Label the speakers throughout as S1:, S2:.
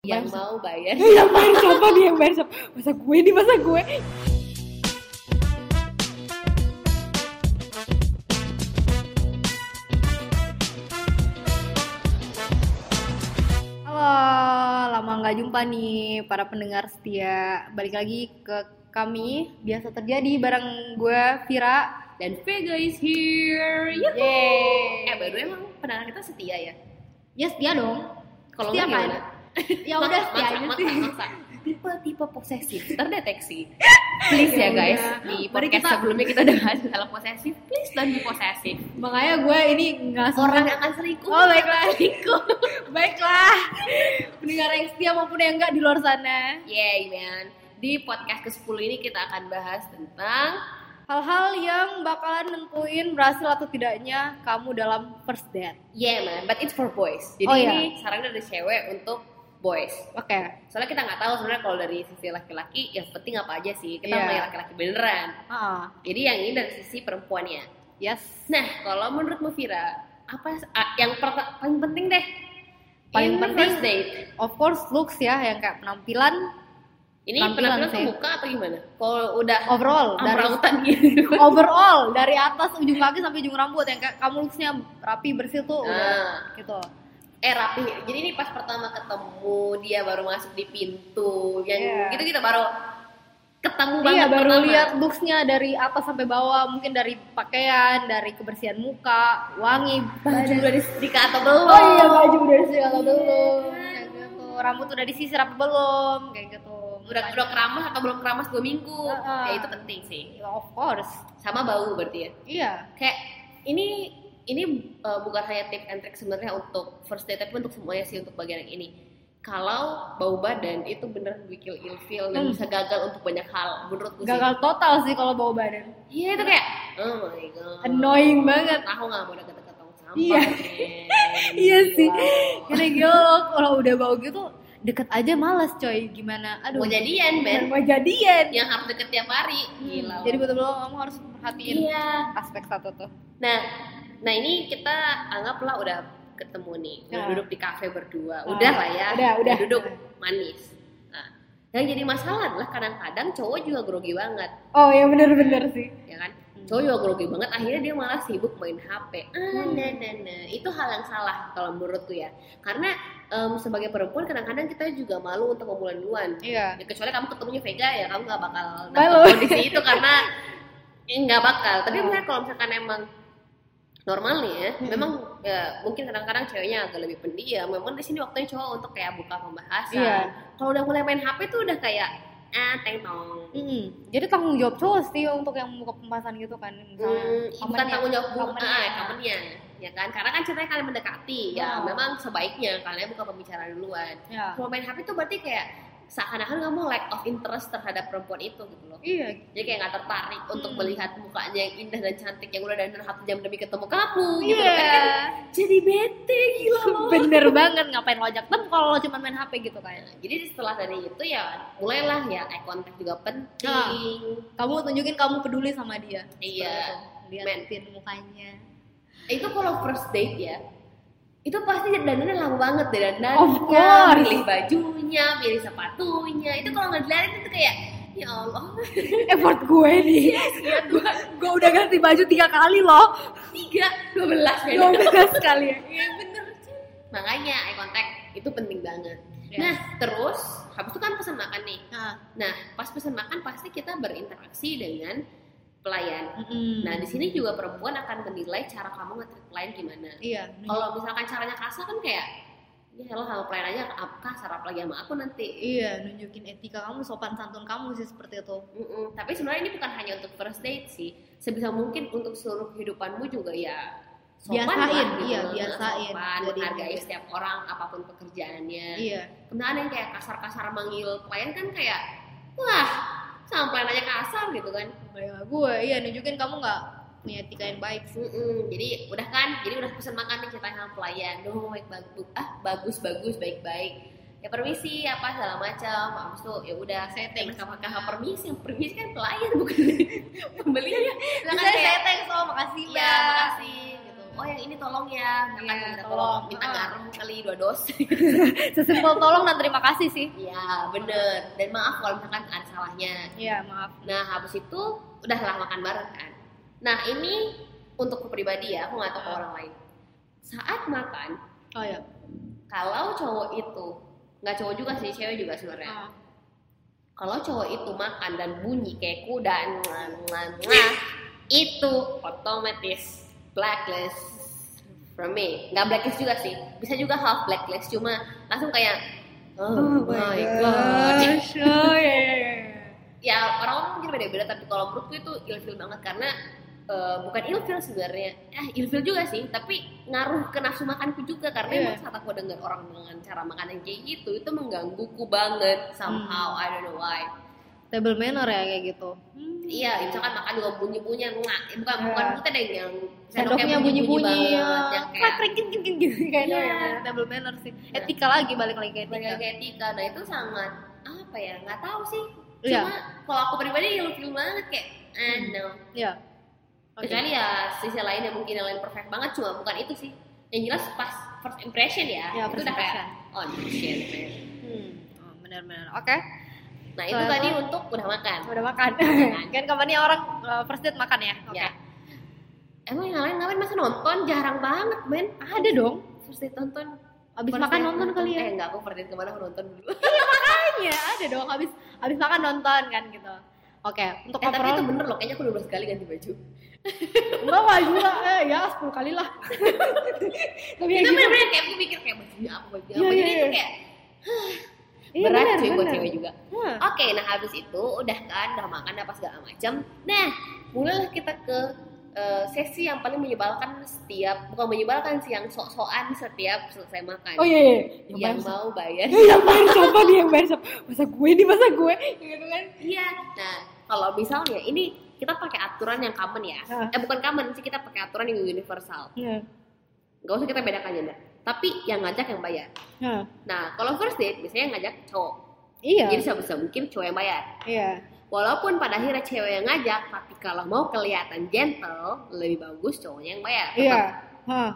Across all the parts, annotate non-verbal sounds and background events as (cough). S1: Iya.
S2: yang mau bayar
S1: yang bayar siapa nih yang bayar siapa masa gue nih masa gue halo lama nggak jumpa nih para pendengar setia balik lagi ke kami biasa terjadi bareng gue Vira
S2: (laughs) dan Vega is here Yuhu.
S1: Yeay.
S2: eh baru emang pendengar kita setia ya
S1: ya setia dong
S2: kalau
S1: Setia
S2: nggak
S1: apaan?
S2: gimana
S1: ya udah setia
S2: Maksa,
S1: aja
S2: maksa,
S1: sih
S2: maksa. tipe-tipe posesif
S1: (laughs)
S2: terdeteksi please ya
S1: Iya.
S2: guys di
S1: Mari
S2: podcast
S1: kita-
S2: sebelumnya kita udah bahas dalam posesif please don't be posesif
S1: (laughs) makanya gue ini nggak sengaja-
S2: orang akan selingkuh
S1: Oh, baiklah. (laughs)
S2: selingkuh
S1: Baiklah, pendengar yang setia maupun yang enggak di luar sana.
S2: yay man di podcast ke-10 ini kita akan bahas tentang
S1: Hal-hal yang bakalan nentuin berhasil atau tidaknya kamu dalam first date.
S2: yeah man but it's for boys jadi
S1: Oh, iya.
S2: ini sarannya dari cewek untuk boys
S1: Oke.
S2: soalnya kita nggak tahu sebenarnya kalau dari sisi laki-laki ya yang penting apa aja sih kita
S1: Iya.
S2: mau yang laki-laki beneran
S1: Ah,
S2: jadi yang ini dari sisi perempuannya
S1: yes.
S2: nah kalau menurutmu Vira apa ah, yang perta- paling penting deh
S1: Paling
S2: paling penting
S1: penting.
S2: first date
S1: Of course looks ya yang kayak penampilan
S2: ini
S1: Tampilan
S2: penampilan ke
S1: sih.
S2: muka atau gimana kalau udah
S1: overall
S2: Ah,
S1: dari
S2: amrautan gitu
S1: (laughs) overall dari atas ujung kaki sampai ujung rambut yang kayak kamu looksnya rapi bersih tuh udah
S2: Nah,
S1: gitu.
S2: eh rapi jadi ini pas pertama ketemu dia baru masuk di pintu yang
S1: Iya.
S2: gitu kita baru ketemu banget
S1: Iya baru
S2: pertama.
S1: lihat looksnya dari atas sampai bawah mungkin dari pakaian, dari kebersihan muka, wangi,
S2: baju
S1: (laughs)
S2: udah disetrika atau belum
S1: Oh iya baju udah disisir atau belum Kayak gitu Rambut udah disisir apa belum Kayak gitu
S2: udah udah keramas atau belum keramas dua minggu
S1: Heeh.
S2: ya itu penting sih
S1: Ya, Of course
S2: sama bau berarti ya
S1: Iya
S2: kayak ini ini uh, bukan hanya tips and trick sebenarnya untuk first date tapi untuk semuanya sih untuk bagian yang ini kalau bau badan itu beneran bikin ilfil dan
S1: Hmm.
S2: bisa gagal untuk banyak hal menurutku
S1: Gagal total Iya sih kalau bawa badan
S2: sih iya itu kayak oh my god
S1: Annoying banget
S2: tahu nggak mau deket-deket Gitu. tong sampah
S1: Iya.
S2: men.
S1: (laughs) Iya sih
S2: Wow.
S1: Gila gila Kalau udah bau gitu Deket aja males coy Gimana Aduh
S2: mau jadian men
S1: Dan mau jadian
S2: yang harus deket tiap hari
S1: Hmm,
S2: gila
S1: Jadi betul-betul kamu harus perhatiin
S2: iya
S1: Aspek satu tuh
S2: Nah, nah ini kita anggaplah udah ketemu nih, udah
S1: Ya.
S2: duduk di kafe berdua,
S1: Ah,
S2: udah lah ya,
S1: udah, udah.
S2: duduk manis. Nah, yang jadi masalah adalah kadang-kadang cowok juga grogi banget,
S1: Oh ya bener-bener sih
S2: ya kan?
S1: Hmm.
S2: Cowok juga grogi banget, akhirnya dia malah sibuk main HP. Ah,
S1: Hmm.
S2: nah, nah, nah. itu hal yang salah kalau menurutku ya, karena em, sebagai perempuan kadang-kadang kita juga malu untuk memulai duluan.
S1: Iya
S2: Ya, kecuali kamu ketemunya Vega ya kamu nggak bakal
S1: Malu.
S2: dapet kondisi itu
S1: (laughs)
S2: karena ya, nggak bakal tapi
S1: Hmm.
S2: misalnya kalau misalkan emang normalnya ya,
S1: Hmm.
S2: memang ya, mungkin kadang-kadang ceweknya agak lebih pendiam memang di sini waktunya cowok untuk kayak buka pembahasan
S1: Iya
S2: kalau udah mulai main HP tuh udah kayak ah teng tong
S1: Iya. Mm-mm. Jadi tanggung jawab cowok sih untuk yang buka pembahasan gitu kan
S2: Hmm,
S1: misalnya.
S2: bukan
S1: Temennya-
S2: tanggung jawab bu-
S1: temennya.
S2: ah, temennya ya kan karena kan ceritanya kalian mendekati ya
S1: Oh.
S2: memang sebaiknya kalian buka pembicaraan duluan
S1: Ya.
S2: kalau main HP tuh berarti kayak seakan-akan kamu lack of interest terhadap perempuan itu gitu loh
S1: Iya.
S2: jadi kayak nggak tertarik untuk
S1: Hmm. melihat
S2: melihat mukanya yang indah dan cantik yang udah dandan satu jam demi ketemu kamu gitu
S1: Iya.
S2: jadi bete
S1: (laughs)
S2: gila loh
S1: Bener banget ngapain lo ajak temu kalau lo cuma main HP gitu kan.
S2: jadi setelah dari itu ya mulailah ya eye contact juga penting
S1: Kamu tunjukin kamu peduli sama dia.
S2: Iya.
S1: Seperti itu. Liatin mukanya. Ah.
S2: itu kalau first date ya itu pasti dandannya lama banget deh
S1: Of
S2: dandannya
S1: course.
S2: milih bajunya milih sepatunya itu kalau nggak dilarang itu kayak ya Allah
S1: (laughs)
S2: (laughs)
S1: Effort gue nih. gue, gue udah ganti baju tiga kali (laughs) loh.
S2: tiga dua belas
S1: Gue bekas sekali ya.
S2: Iya bener sih. Makanya eye contact itu penting banget.
S1: Yes.
S2: Nah terus habis itu kan pesan makan nih. Nah pas pesan makan pasti kita berinteraksi dengan pelayan.
S1: Hmm.
S2: Nah di sini juga perempuan akan menilai cara kamu nge-treat pelayan gimana.
S1: Iya.
S2: Kalau misalkan caranya kasar kan kayak ya lo sama pelayan aja ah, apa kasar apalagi sama aku nanti.
S1: Iya, nunjukin etika kamu, sopan santun kamu sih seperti itu.
S2: Mm-mm. Tapi sebenarnya ini bukan hanya untuk first date sih. Sebisa mungkin untuk seluruh kehidupanmu juga ya sopan lah
S1: Biasain,
S2: gitu.
S1: iya, biasain.
S2: sopan,
S1: Jadi-
S2: menghargai setiap orang apapun pekerjaannya.
S1: Iya.
S2: Kemudian ada yang kayak kasar-kasar manggil klien kan kayak wah sama klien aja kasar gitu kan
S1: Kayak gue, iya nunjukin kamu nggak punya etika yang baik sih.
S2: Mm-mm. jadi udah kan jadi udah pesan makan nih ceritanya sama pelayan duh baik bagus ah bagus bagus baik baik ya permisi apa segala macam habis itu ya udah saya thanks sama kakak permisi yang permisi kan pelayan bukan (laughs) pembelinya
S1: Misalnya
S2: Misalnya
S1: saya thanks, oh makasih
S2: Iya,
S1: Mbak.
S2: makasih gitu. oh yang ini tolong ya makan
S1: Iya,
S2: minta
S1: tolong.
S2: tolong minta
S1: Ah.
S2: garam kali dua dos (laughs)
S1: Sesimpel tolong dan terima kasih sih.
S2: iya bener dan maaf kalau misalkan ada salahnya
S1: Iya, maaf.
S2: nah habis itu udahlah makan bareng kan nah ini untuk aku pribadi ya aku nggak tahu ke orang lain saat makan
S1: Oh ya.
S2: kalau cowok itu nggak cowok juga sih cewek juga sebenarnya
S1: Ah.
S2: kalau cowok itu makan dan bunyi kayak kuda ngah, ngah, ngah, itu otomatis blacklist from me nggak blacklist juga sih bisa juga half blacklist cuma langsung kayak oh, my god,
S1: gosh. Oh ya. ya, ya.
S2: ya orang-orang mungkin beda-beda tapi kalau menurutku itu ilfil banget karena eh, bukan ilfil sebenarnya eh ilfil juga sih tapi ngaruh ke nafsu makanku juga karena
S1: Iya.
S2: emang saat aku dengar orang dengan cara makan yang kayak gitu itu menggangguku banget somehow
S1: Hmm.
S2: I don't know why
S1: Table manner ya kayak gitu.
S2: Iya, misalkan makan juga bunyi-bunyi yang ngak, eh, bukan
S1: Iya.
S2: bukan bukan deh yang
S1: Sendoknya bunyi-bunyi
S2: banget,
S1: ya.
S2: yang
S1: Klik
S2: kayak
S1: klik klik klik (laughs) gitu kayaknya.
S2: Iya.
S1: ya. Table manner sih. Etika lagi balik lagi ke
S2: kayak
S1: etika.
S2: kayak etika. Nah itu sangat apa ya? Nggak tahu sih. Cuma
S1: Iya.
S2: kalau aku pribadi ilfil banget kayak, ah no.
S1: Iya. Oke.
S2: Kecuali ya sisi lain yang mungkin yang lain perfect banget cuma bukan itu sih. Yang jelas pas first impression ya, itu
S1: Iya, first
S2: udah kayak oh shit. man."
S1: Hmm. Oh, benar-benar. Oke.
S2: Nah itu
S1: Selalu-
S2: tadi untuk udah makan.
S1: Udah makan. (laughs) kan kemarin orang uh, first date makan ya. Oke.
S2: Ya. Emang yang lain ngapain masa nonton? Jarang banget, men.
S1: Ada dong.
S2: First date nonton.
S1: Habis
S2: First
S1: makan
S2: date
S1: nonton kali ya.
S2: Eh enggak, aku first date kemana aku nonton dulu.
S1: Iya, ada dong. Habis habis makan nonton kan gitu. Oke, untuk
S2: Eh, tapi
S1: overall
S2: itu bener loh, kayaknya aku 12 kali ganti baju.
S1: Enggak lah juga, eh ya 10 kali (laughs) lah Tapi ya
S2: itu
S1: gitu.
S2: bener-bener kayak aku mikir kayak bajunya apa, bajunya apa.
S1: Iya,
S2: Jadi
S1: iya,
S2: itu
S1: iya.
S2: kayak
S1: Iya,
S2: berat
S1: benar,
S2: cuy buat
S1: benar.
S2: cewek juga.
S1: Hah.
S2: Oke, nah habis itu udah kan, udah makan, apa segala macam. Nah, mulailah kita ke eh, sesi yang paling menyebalkan setiap bukan menyebalkan sih yang sok-sokan setiap selesai makan
S1: Oh iya, iya. Yang
S2: yang
S1: bayar-
S2: mau bayar
S1: (laughs) Eh, yang bayar siapa dia yang bayar siapa? Masa gue nih, masa gue gitu kan.
S2: iya nah kalau misalnya ini kita pakai aturan yang common ya
S1: Hah.
S2: eh bukan common sih kita pakai aturan yang universal
S1: Iya.
S2: nggak usah kita bedakan gender tapi yang ngajak yang bayar
S1: Hah.
S2: Nah, kalau first date biasanya yang ngajak cowok.
S1: Iya.
S2: Jadi sebisa mungkin cowok yang bayar.
S1: Iya.
S2: Walaupun pada akhirnya cewek yang ngajak, tapi kalau mau kelihatan gentle, lebih bagus cowoknya yang bayar.
S1: Iya. Hah.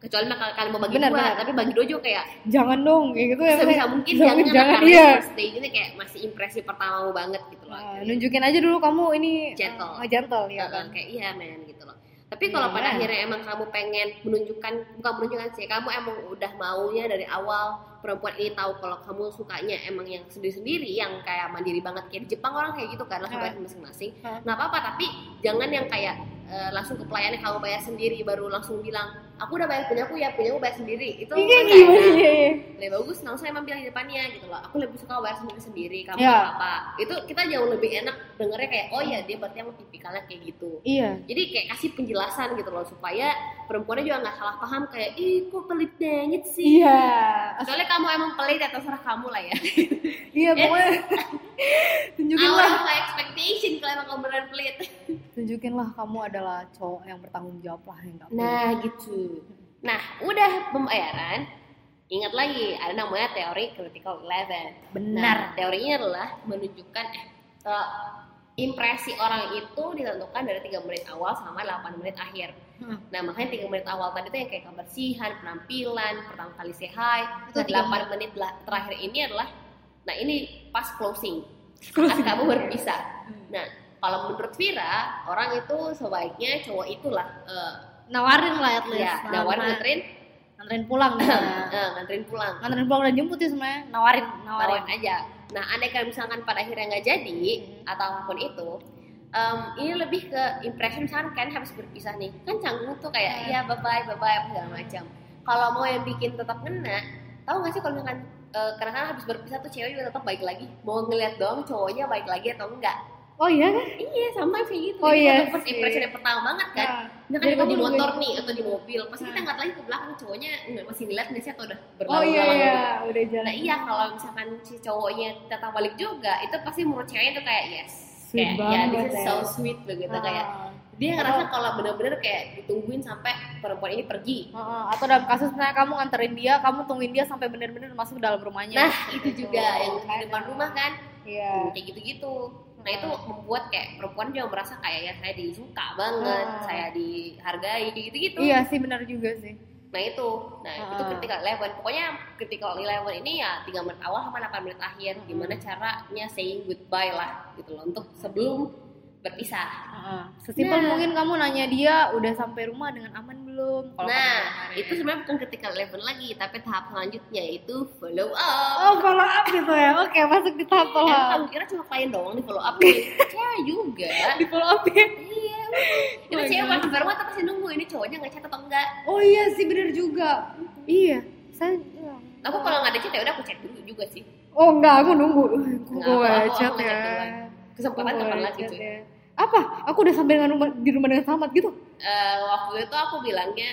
S2: Kecuali kalau kalian mau bagi
S1: Benar,
S2: dua,
S1: benar.
S2: tapi bagi dua juga kayak
S1: Jangan dong, kayak gitu ya.
S2: sebisa
S1: Pak.
S2: mungkin
S1: jangan,
S2: jangan,
S1: jangan,
S2: karena
S1: iya.
S2: first date ini kayak masih impresi pertama banget gitu loh.
S1: Ah,
S2: Jadi,
S1: nunjukin aja dulu kamu ini
S2: Gentle.
S1: ah, gentle ya
S2: eh,
S1: kan.
S2: kayak iya men gitu loh. Tapi kalau
S1: Iya.
S2: pada akhirnya emang kamu pengen menunjukkan, bukan menunjukkan sih, kamu emang udah maunya dari awal perempuan ini tahu kalau kamu sukanya emang yang sendiri-sendiri, yang kayak mandiri banget kayak di Jepang orang kayak gitu kan langsung
S1: Hah.
S2: bayar masing-masing.
S1: Hah.
S2: Nah apa-apa, tapi jangan yang kayak eh, langsung ke pelayannya kamu bayar sendiri baru langsung bilang aku udah bayar punya aku ya punya aku bayar sendiri itu
S1: Iya,
S2: kan
S1: gimana?
S2: kayak-
S1: Iya, iya.
S2: lebih bagus langsung emang bilang di depannya gitu loh aku lebih suka wear sendiri sendiri kamu
S1: Ya.
S2: apa itu kita jauh lebih enak dengernya kayak oh ya dia berarti emang tipikalnya kayak gitu
S1: Iya.
S2: jadi kayak kasih penjelasan gitu loh supaya perempuannya juga nggak salah paham kayak ih kok pelit banget sih
S1: Iya.
S2: soalnya kamu emang pelit ya terserah kamu lah (laughs) ya
S1: Iya,
S2: Eh. (laughs)
S1: pokoknya tunjukin
S2: out
S1: lah.
S2: of my expectation kalau emang kamu beneran pelit
S1: tunjukinlah kamu adalah cowok yang bertanggung jawab lah yang nggak perlu.
S2: nah gitu nah udah pembayaran ingat lagi ada namanya teori critical eleven Nah, teorinya adalah menunjukkan eh, eh, impresi orang itu ditentukan dari tiga menit awal sama 8 menit akhir.
S1: Hmm.
S2: Nah, makanya tiga menit awal tadi itu yang kayak kebersihan, penampilan, pertama kali say hi. Nah,
S1: Itu tiga
S2: 8 menit la- terakhir ini adalah nah ini pas closing. Saat kamu berpisah. Nah, kalau menurut Vira, orang itu sebaiknya cowok itulah eh,
S1: nawarin lah Iya, at least
S2: ya nawar nganterin,
S1: nganterin
S2: (coughs)
S1: pulang misalnya.
S2: eh, nganterin pulang.
S1: nganterin pulang dan jemput sih sebenarnya nawarin
S2: tawarin
S1: nawarin
S2: aja. Nah, andai kalau misalkan pada akhirnya nggak jadi atau apapun itu, em, ini lebih ke impression misalkan kan habis berpisah nih, kan canggung tuh kayak
S1: Iya.
S2: ya bye bye bye bye segala macam. Kalau mau yang bikin tetap kena, tahu nggak sih kalau misalkan eh, kadang-kadang habis berpisah tuh cewek juga tetap baik lagi. Mau ngeliat doang cowoknya baik lagi atau enggak?
S1: oh iya kan
S2: Iya, sama kayak gitu.
S1: Oh,
S2: Itu
S1: iya
S2: kan first
S1: sih. Iya.
S2: impression yang pertama banget kan. Misalkan
S1: Jadi
S2: kita di
S1: kamu
S2: motor nih atau di mobil, pasti kita
S1: Nah.
S2: ngeliat lagi ke belakang cowoknya nggak masih ngeliat nggak sih atau udah
S1: oh
S2: berlalu
S1: iya
S2: lalang
S1: iya
S2: gitu.
S1: udah jalan
S2: Nah iya kalau misalkan si cowoknya tetap balik juga itu pasti menurut ceweknya tuh kayak yes.
S1: Sweet
S2: kayak ya
S1: banget
S2: this is
S1: ya.
S2: so sweet begitu gitu
S1: Ah. Oh.
S2: kayak dia ngerasa kalau bener-bener kayak ditungguin sampai perempuan ini pergi.
S1: Heeh, atau dalam kasus misalnya kamu nganterin dia kamu tungguin dia sampai
S2: Ya,
S1: bener-bener masuk ke dalam rumahnya
S2: Nah itu juga yang di depan rumah kan
S1: Nah. iya
S2: kayak gitu-gitu. Nah itu membuat kayak perempuan juga merasa kayak ya saya disuka banget,
S1: Ah.
S2: saya dihargai gitu-gitu.
S1: Iya sih benar juga sih.
S2: Nah itu, nah itu
S1: Ah.
S2: critical eleven. Pokoknya critical eleven ini ya 3 menit awal sama 8 menit akhir.
S1: Mm-mm.
S2: Gimana caranya saying goodbye lah gitu loh untuk sebelum berpisah.
S1: Heeh. Sesimpel
S2: Nah.
S1: mungkin kamu nanya dia udah sampai rumah dengan aman belum? Kalau kamu
S2: Nah
S1: kemarin.
S2: itu sebenarnya bukan critical eleven lagi, tapi tahap selanjutnya itu follow up.
S1: Oh follow up gitu ya? Oke masuk di tahap follow
S2: Emang
S1: up.
S2: kamu kira cuma klien doang di follow up?
S1: (laughs)
S2: Cewek juga.
S1: Di follow up ya?
S2: Iya. Itu
S1: Oh my
S2: cewek
S1: God.
S2: pas baru tapi pasti nunggu ini cowoknya nggak chat atau enggak.
S1: Oh iya sih benar juga. Iya. Saya.
S2: Aku kalau nggak ada chat ya udah aku chat dulu juga sih.
S1: Oh enggak aku nunggu. Aku
S2: Nggak,
S1: gue
S2: aku- aku
S1: chat
S2: ngechat
S1: ya.
S2: duluan. Kesempatan
S1: Gue
S2: kapan kan lagi
S1: chat
S2: cuy?
S1: ya. Apa? Aku udah sampai dengan rumah, di rumah dengan selamat gitu.
S2: Eh, waktu itu aku bilangnya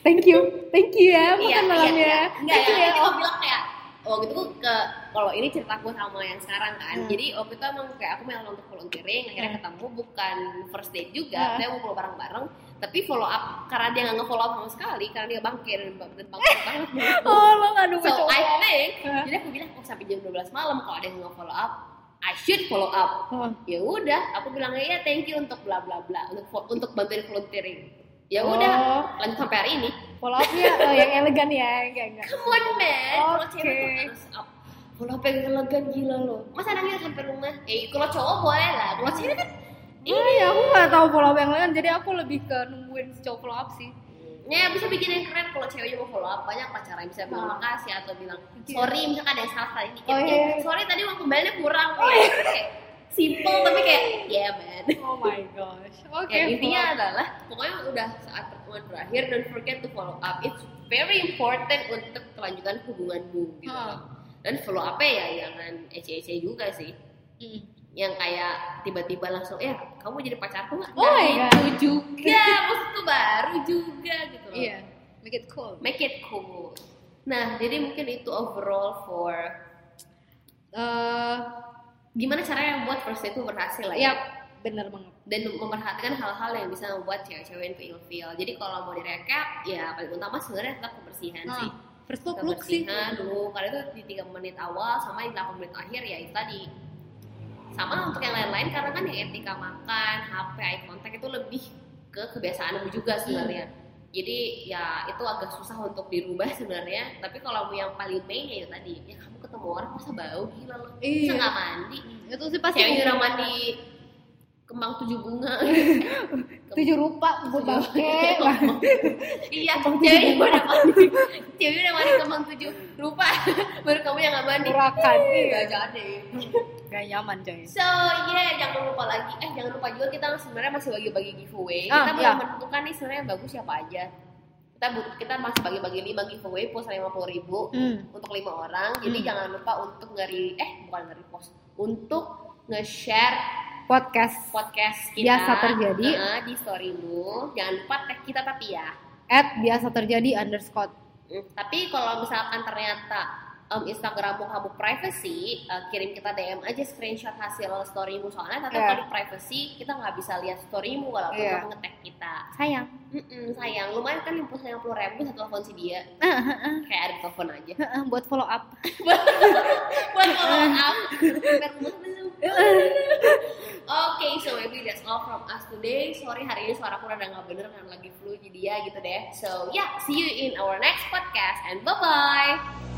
S1: Thank you, thank you ya makan malam
S2: iya.
S1: ya.
S2: Enggak
S1: Thank you
S2: ya,
S1: ya.
S2: itu
S1: Oh,
S2: aku bilang kayak waktu itu ke kalau ini cerita gue sama yang sekarang kan.
S1: Hmm.
S2: Jadi waktu itu emang kayak aku memang untuk volunteering, akhirnya
S1: Hmm.
S2: ketemu bukan first date juga,
S1: Ah.
S2: saya mau pulang bareng-bareng, tapi follow up karena dia nggak nge-follow up sama sekali karena dia bangkir dan bang- dan bangkir banget.
S1: (laughs) oh lo nggak nunggu
S2: so
S1: cowok.
S2: I think,
S1: Ah.
S2: jadi aku bilang aku sampai jam 12 malam kalau ada yang nggak follow up, I should follow up.
S1: Oh,
S2: Ya udah, aku bilangnya ya thank you untuk bla bla bla untuk untuk bantuin volunteering. Ya
S1: Oh.
S2: udah, lanjut sampai hari ini.
S1: Follow upnya eh, yang elegan ya, enggak enggak.
S2: Come on man, kalau
S1: Oke.
S2: cewek tuh harus up. Kalau pengen elegan gila lo, masa nangis sampai rumah? Eh kalau cowok boleh lah, kalau cewek kan
S1: Iya, ya, aku nggak tahu follow up yang lain, jadi aku lebih ke nungguin si cowok follow up sih.
S2: ya bisa bikin yang keren kalau cewek mau follow up banyak pacaran bisa bilang
S1: Ah.
S2: makasih atau bilang
S1: Iya.
S2: sorry misalkan ada yang salah tadi dikit
S1: Oh,
S2: ya,
S1: iya, iya.
S2: sorry tadi uang kembalinya kurang kayak simple tapi kayak yeah man
S1: Oh my gosh. Oke.
S2: Ya, intinya adalah pokoknya udah saat pertemuan berakhir don't forget to follow up it's very important untuk kelanjutan hubunganmu gitu
S1: Ah.
S2: loh. dan follow up ya jangan ece-ece juga sih
S1: Hmm.
S2: yang kayak tiba-tiba langsung ya kamu jadi pacarku nggak
S1: Oh my
S2: Nah, itu juga maksudku baru juga gitu loh.
S1: Iya. Make it cool.
S2: make it cool nah jadi mungkin itu overall for
S1: Eh,
S2: gimana caranya membuat first date itu berhasil lah ya
S1: ya bener banget.
S2: dan memperhatikan hal-hal yang bisa membuat cewek-cewek itu ilfeel jadi kalau mau direcap ya paling utama sebenarnya tetap kebersihan
S1: Nah,
S2: sih
S1: first look look sih.
S2: kebersihan dulu karena itu di 3 menit awal sama di 8 menit akhir ya itu tadi sama untuk yang lain-lain karena kan yang etika makan HP eye contact itu lebih ke kebiasaanmu juga sebenarnya
S1: Iya.
S2: jadi ya itu agak susah untuk dirubah sebenarnya tapi kalau mau yang paling main ya itu tadi ya kamu ketemu orang masa bau gila loh masa
S1: Iya.
S2: nggak mandi
S1: Hmm, Itu sih
S2: pasti
S1: pasti
S2: cewek udah mandi kembang tujuh bunga
S1: tujuh rupa gue pakai. Wah,
S2: (laughs) iya
S1: Kembang
S2: cewek
S1: tujuh
S2: udah mandi cewek udah mandi kembang tujuh rupa (laughs) baru kamu yang nggak mandi
S1: Murakan.
S2: Iya, jangan deh.
S1: (laughs) Gak nyaman coy.
S2: So yeah, jangan lupa lagi. Eh jangan lupa juga kita sebenarnya masih bagi-bagi giveaway.
S1: Ah,
S2: kita belum
S1: iya.
S2: menentukan nih sebenarnya yang bagus siapa aja. Kita bu- kita masih bagi-bagi lima giveaway post lima puluh ribu
S1: Hmm.
S2: untuk lima orang. Jadi
S1: Hmm.
S2: jangan lupa untuk ngeri eh bukan ngeri post untuk nge-share
S1: Podcast
S2: podcast kita
S1: Biasa terjadi.
S2: Nah, di storymu. Jangan lupa tag kita tapi ya.
S1: at biasa terjadi underscore. Hmm.
S2: Mm, Tapi kalau misalkan ternyata um, Instagrammu kamu privacy, uh, kirim kita DM aja screenshot hasil storymu soalnya tapi
S1: Iya.
S2: kalau di privacy kita nggak bisa lihat storymu walaupun
S1: Iya.
S2: kamu ngetag kita.
S1: Sayang.
S2: Mm-mm, sayang, lumayan kan yang pulsa yang puluh ribu satu telepon si dia,
S1: Eh,
S2: kayak ada telepon
S1: (laughs)
S2: aja.
S1: Heeh, eh, buat follow up.
S2: Buat kalau am, sampai rumah
S1: (laughs)
S2: belum. Oke, so maybe that's all from us today. Sorry hari ini suaraku rada nggak bener karena lagi flu jadi ya gitu deh. So yeah, see you in our next podcast and bye bye.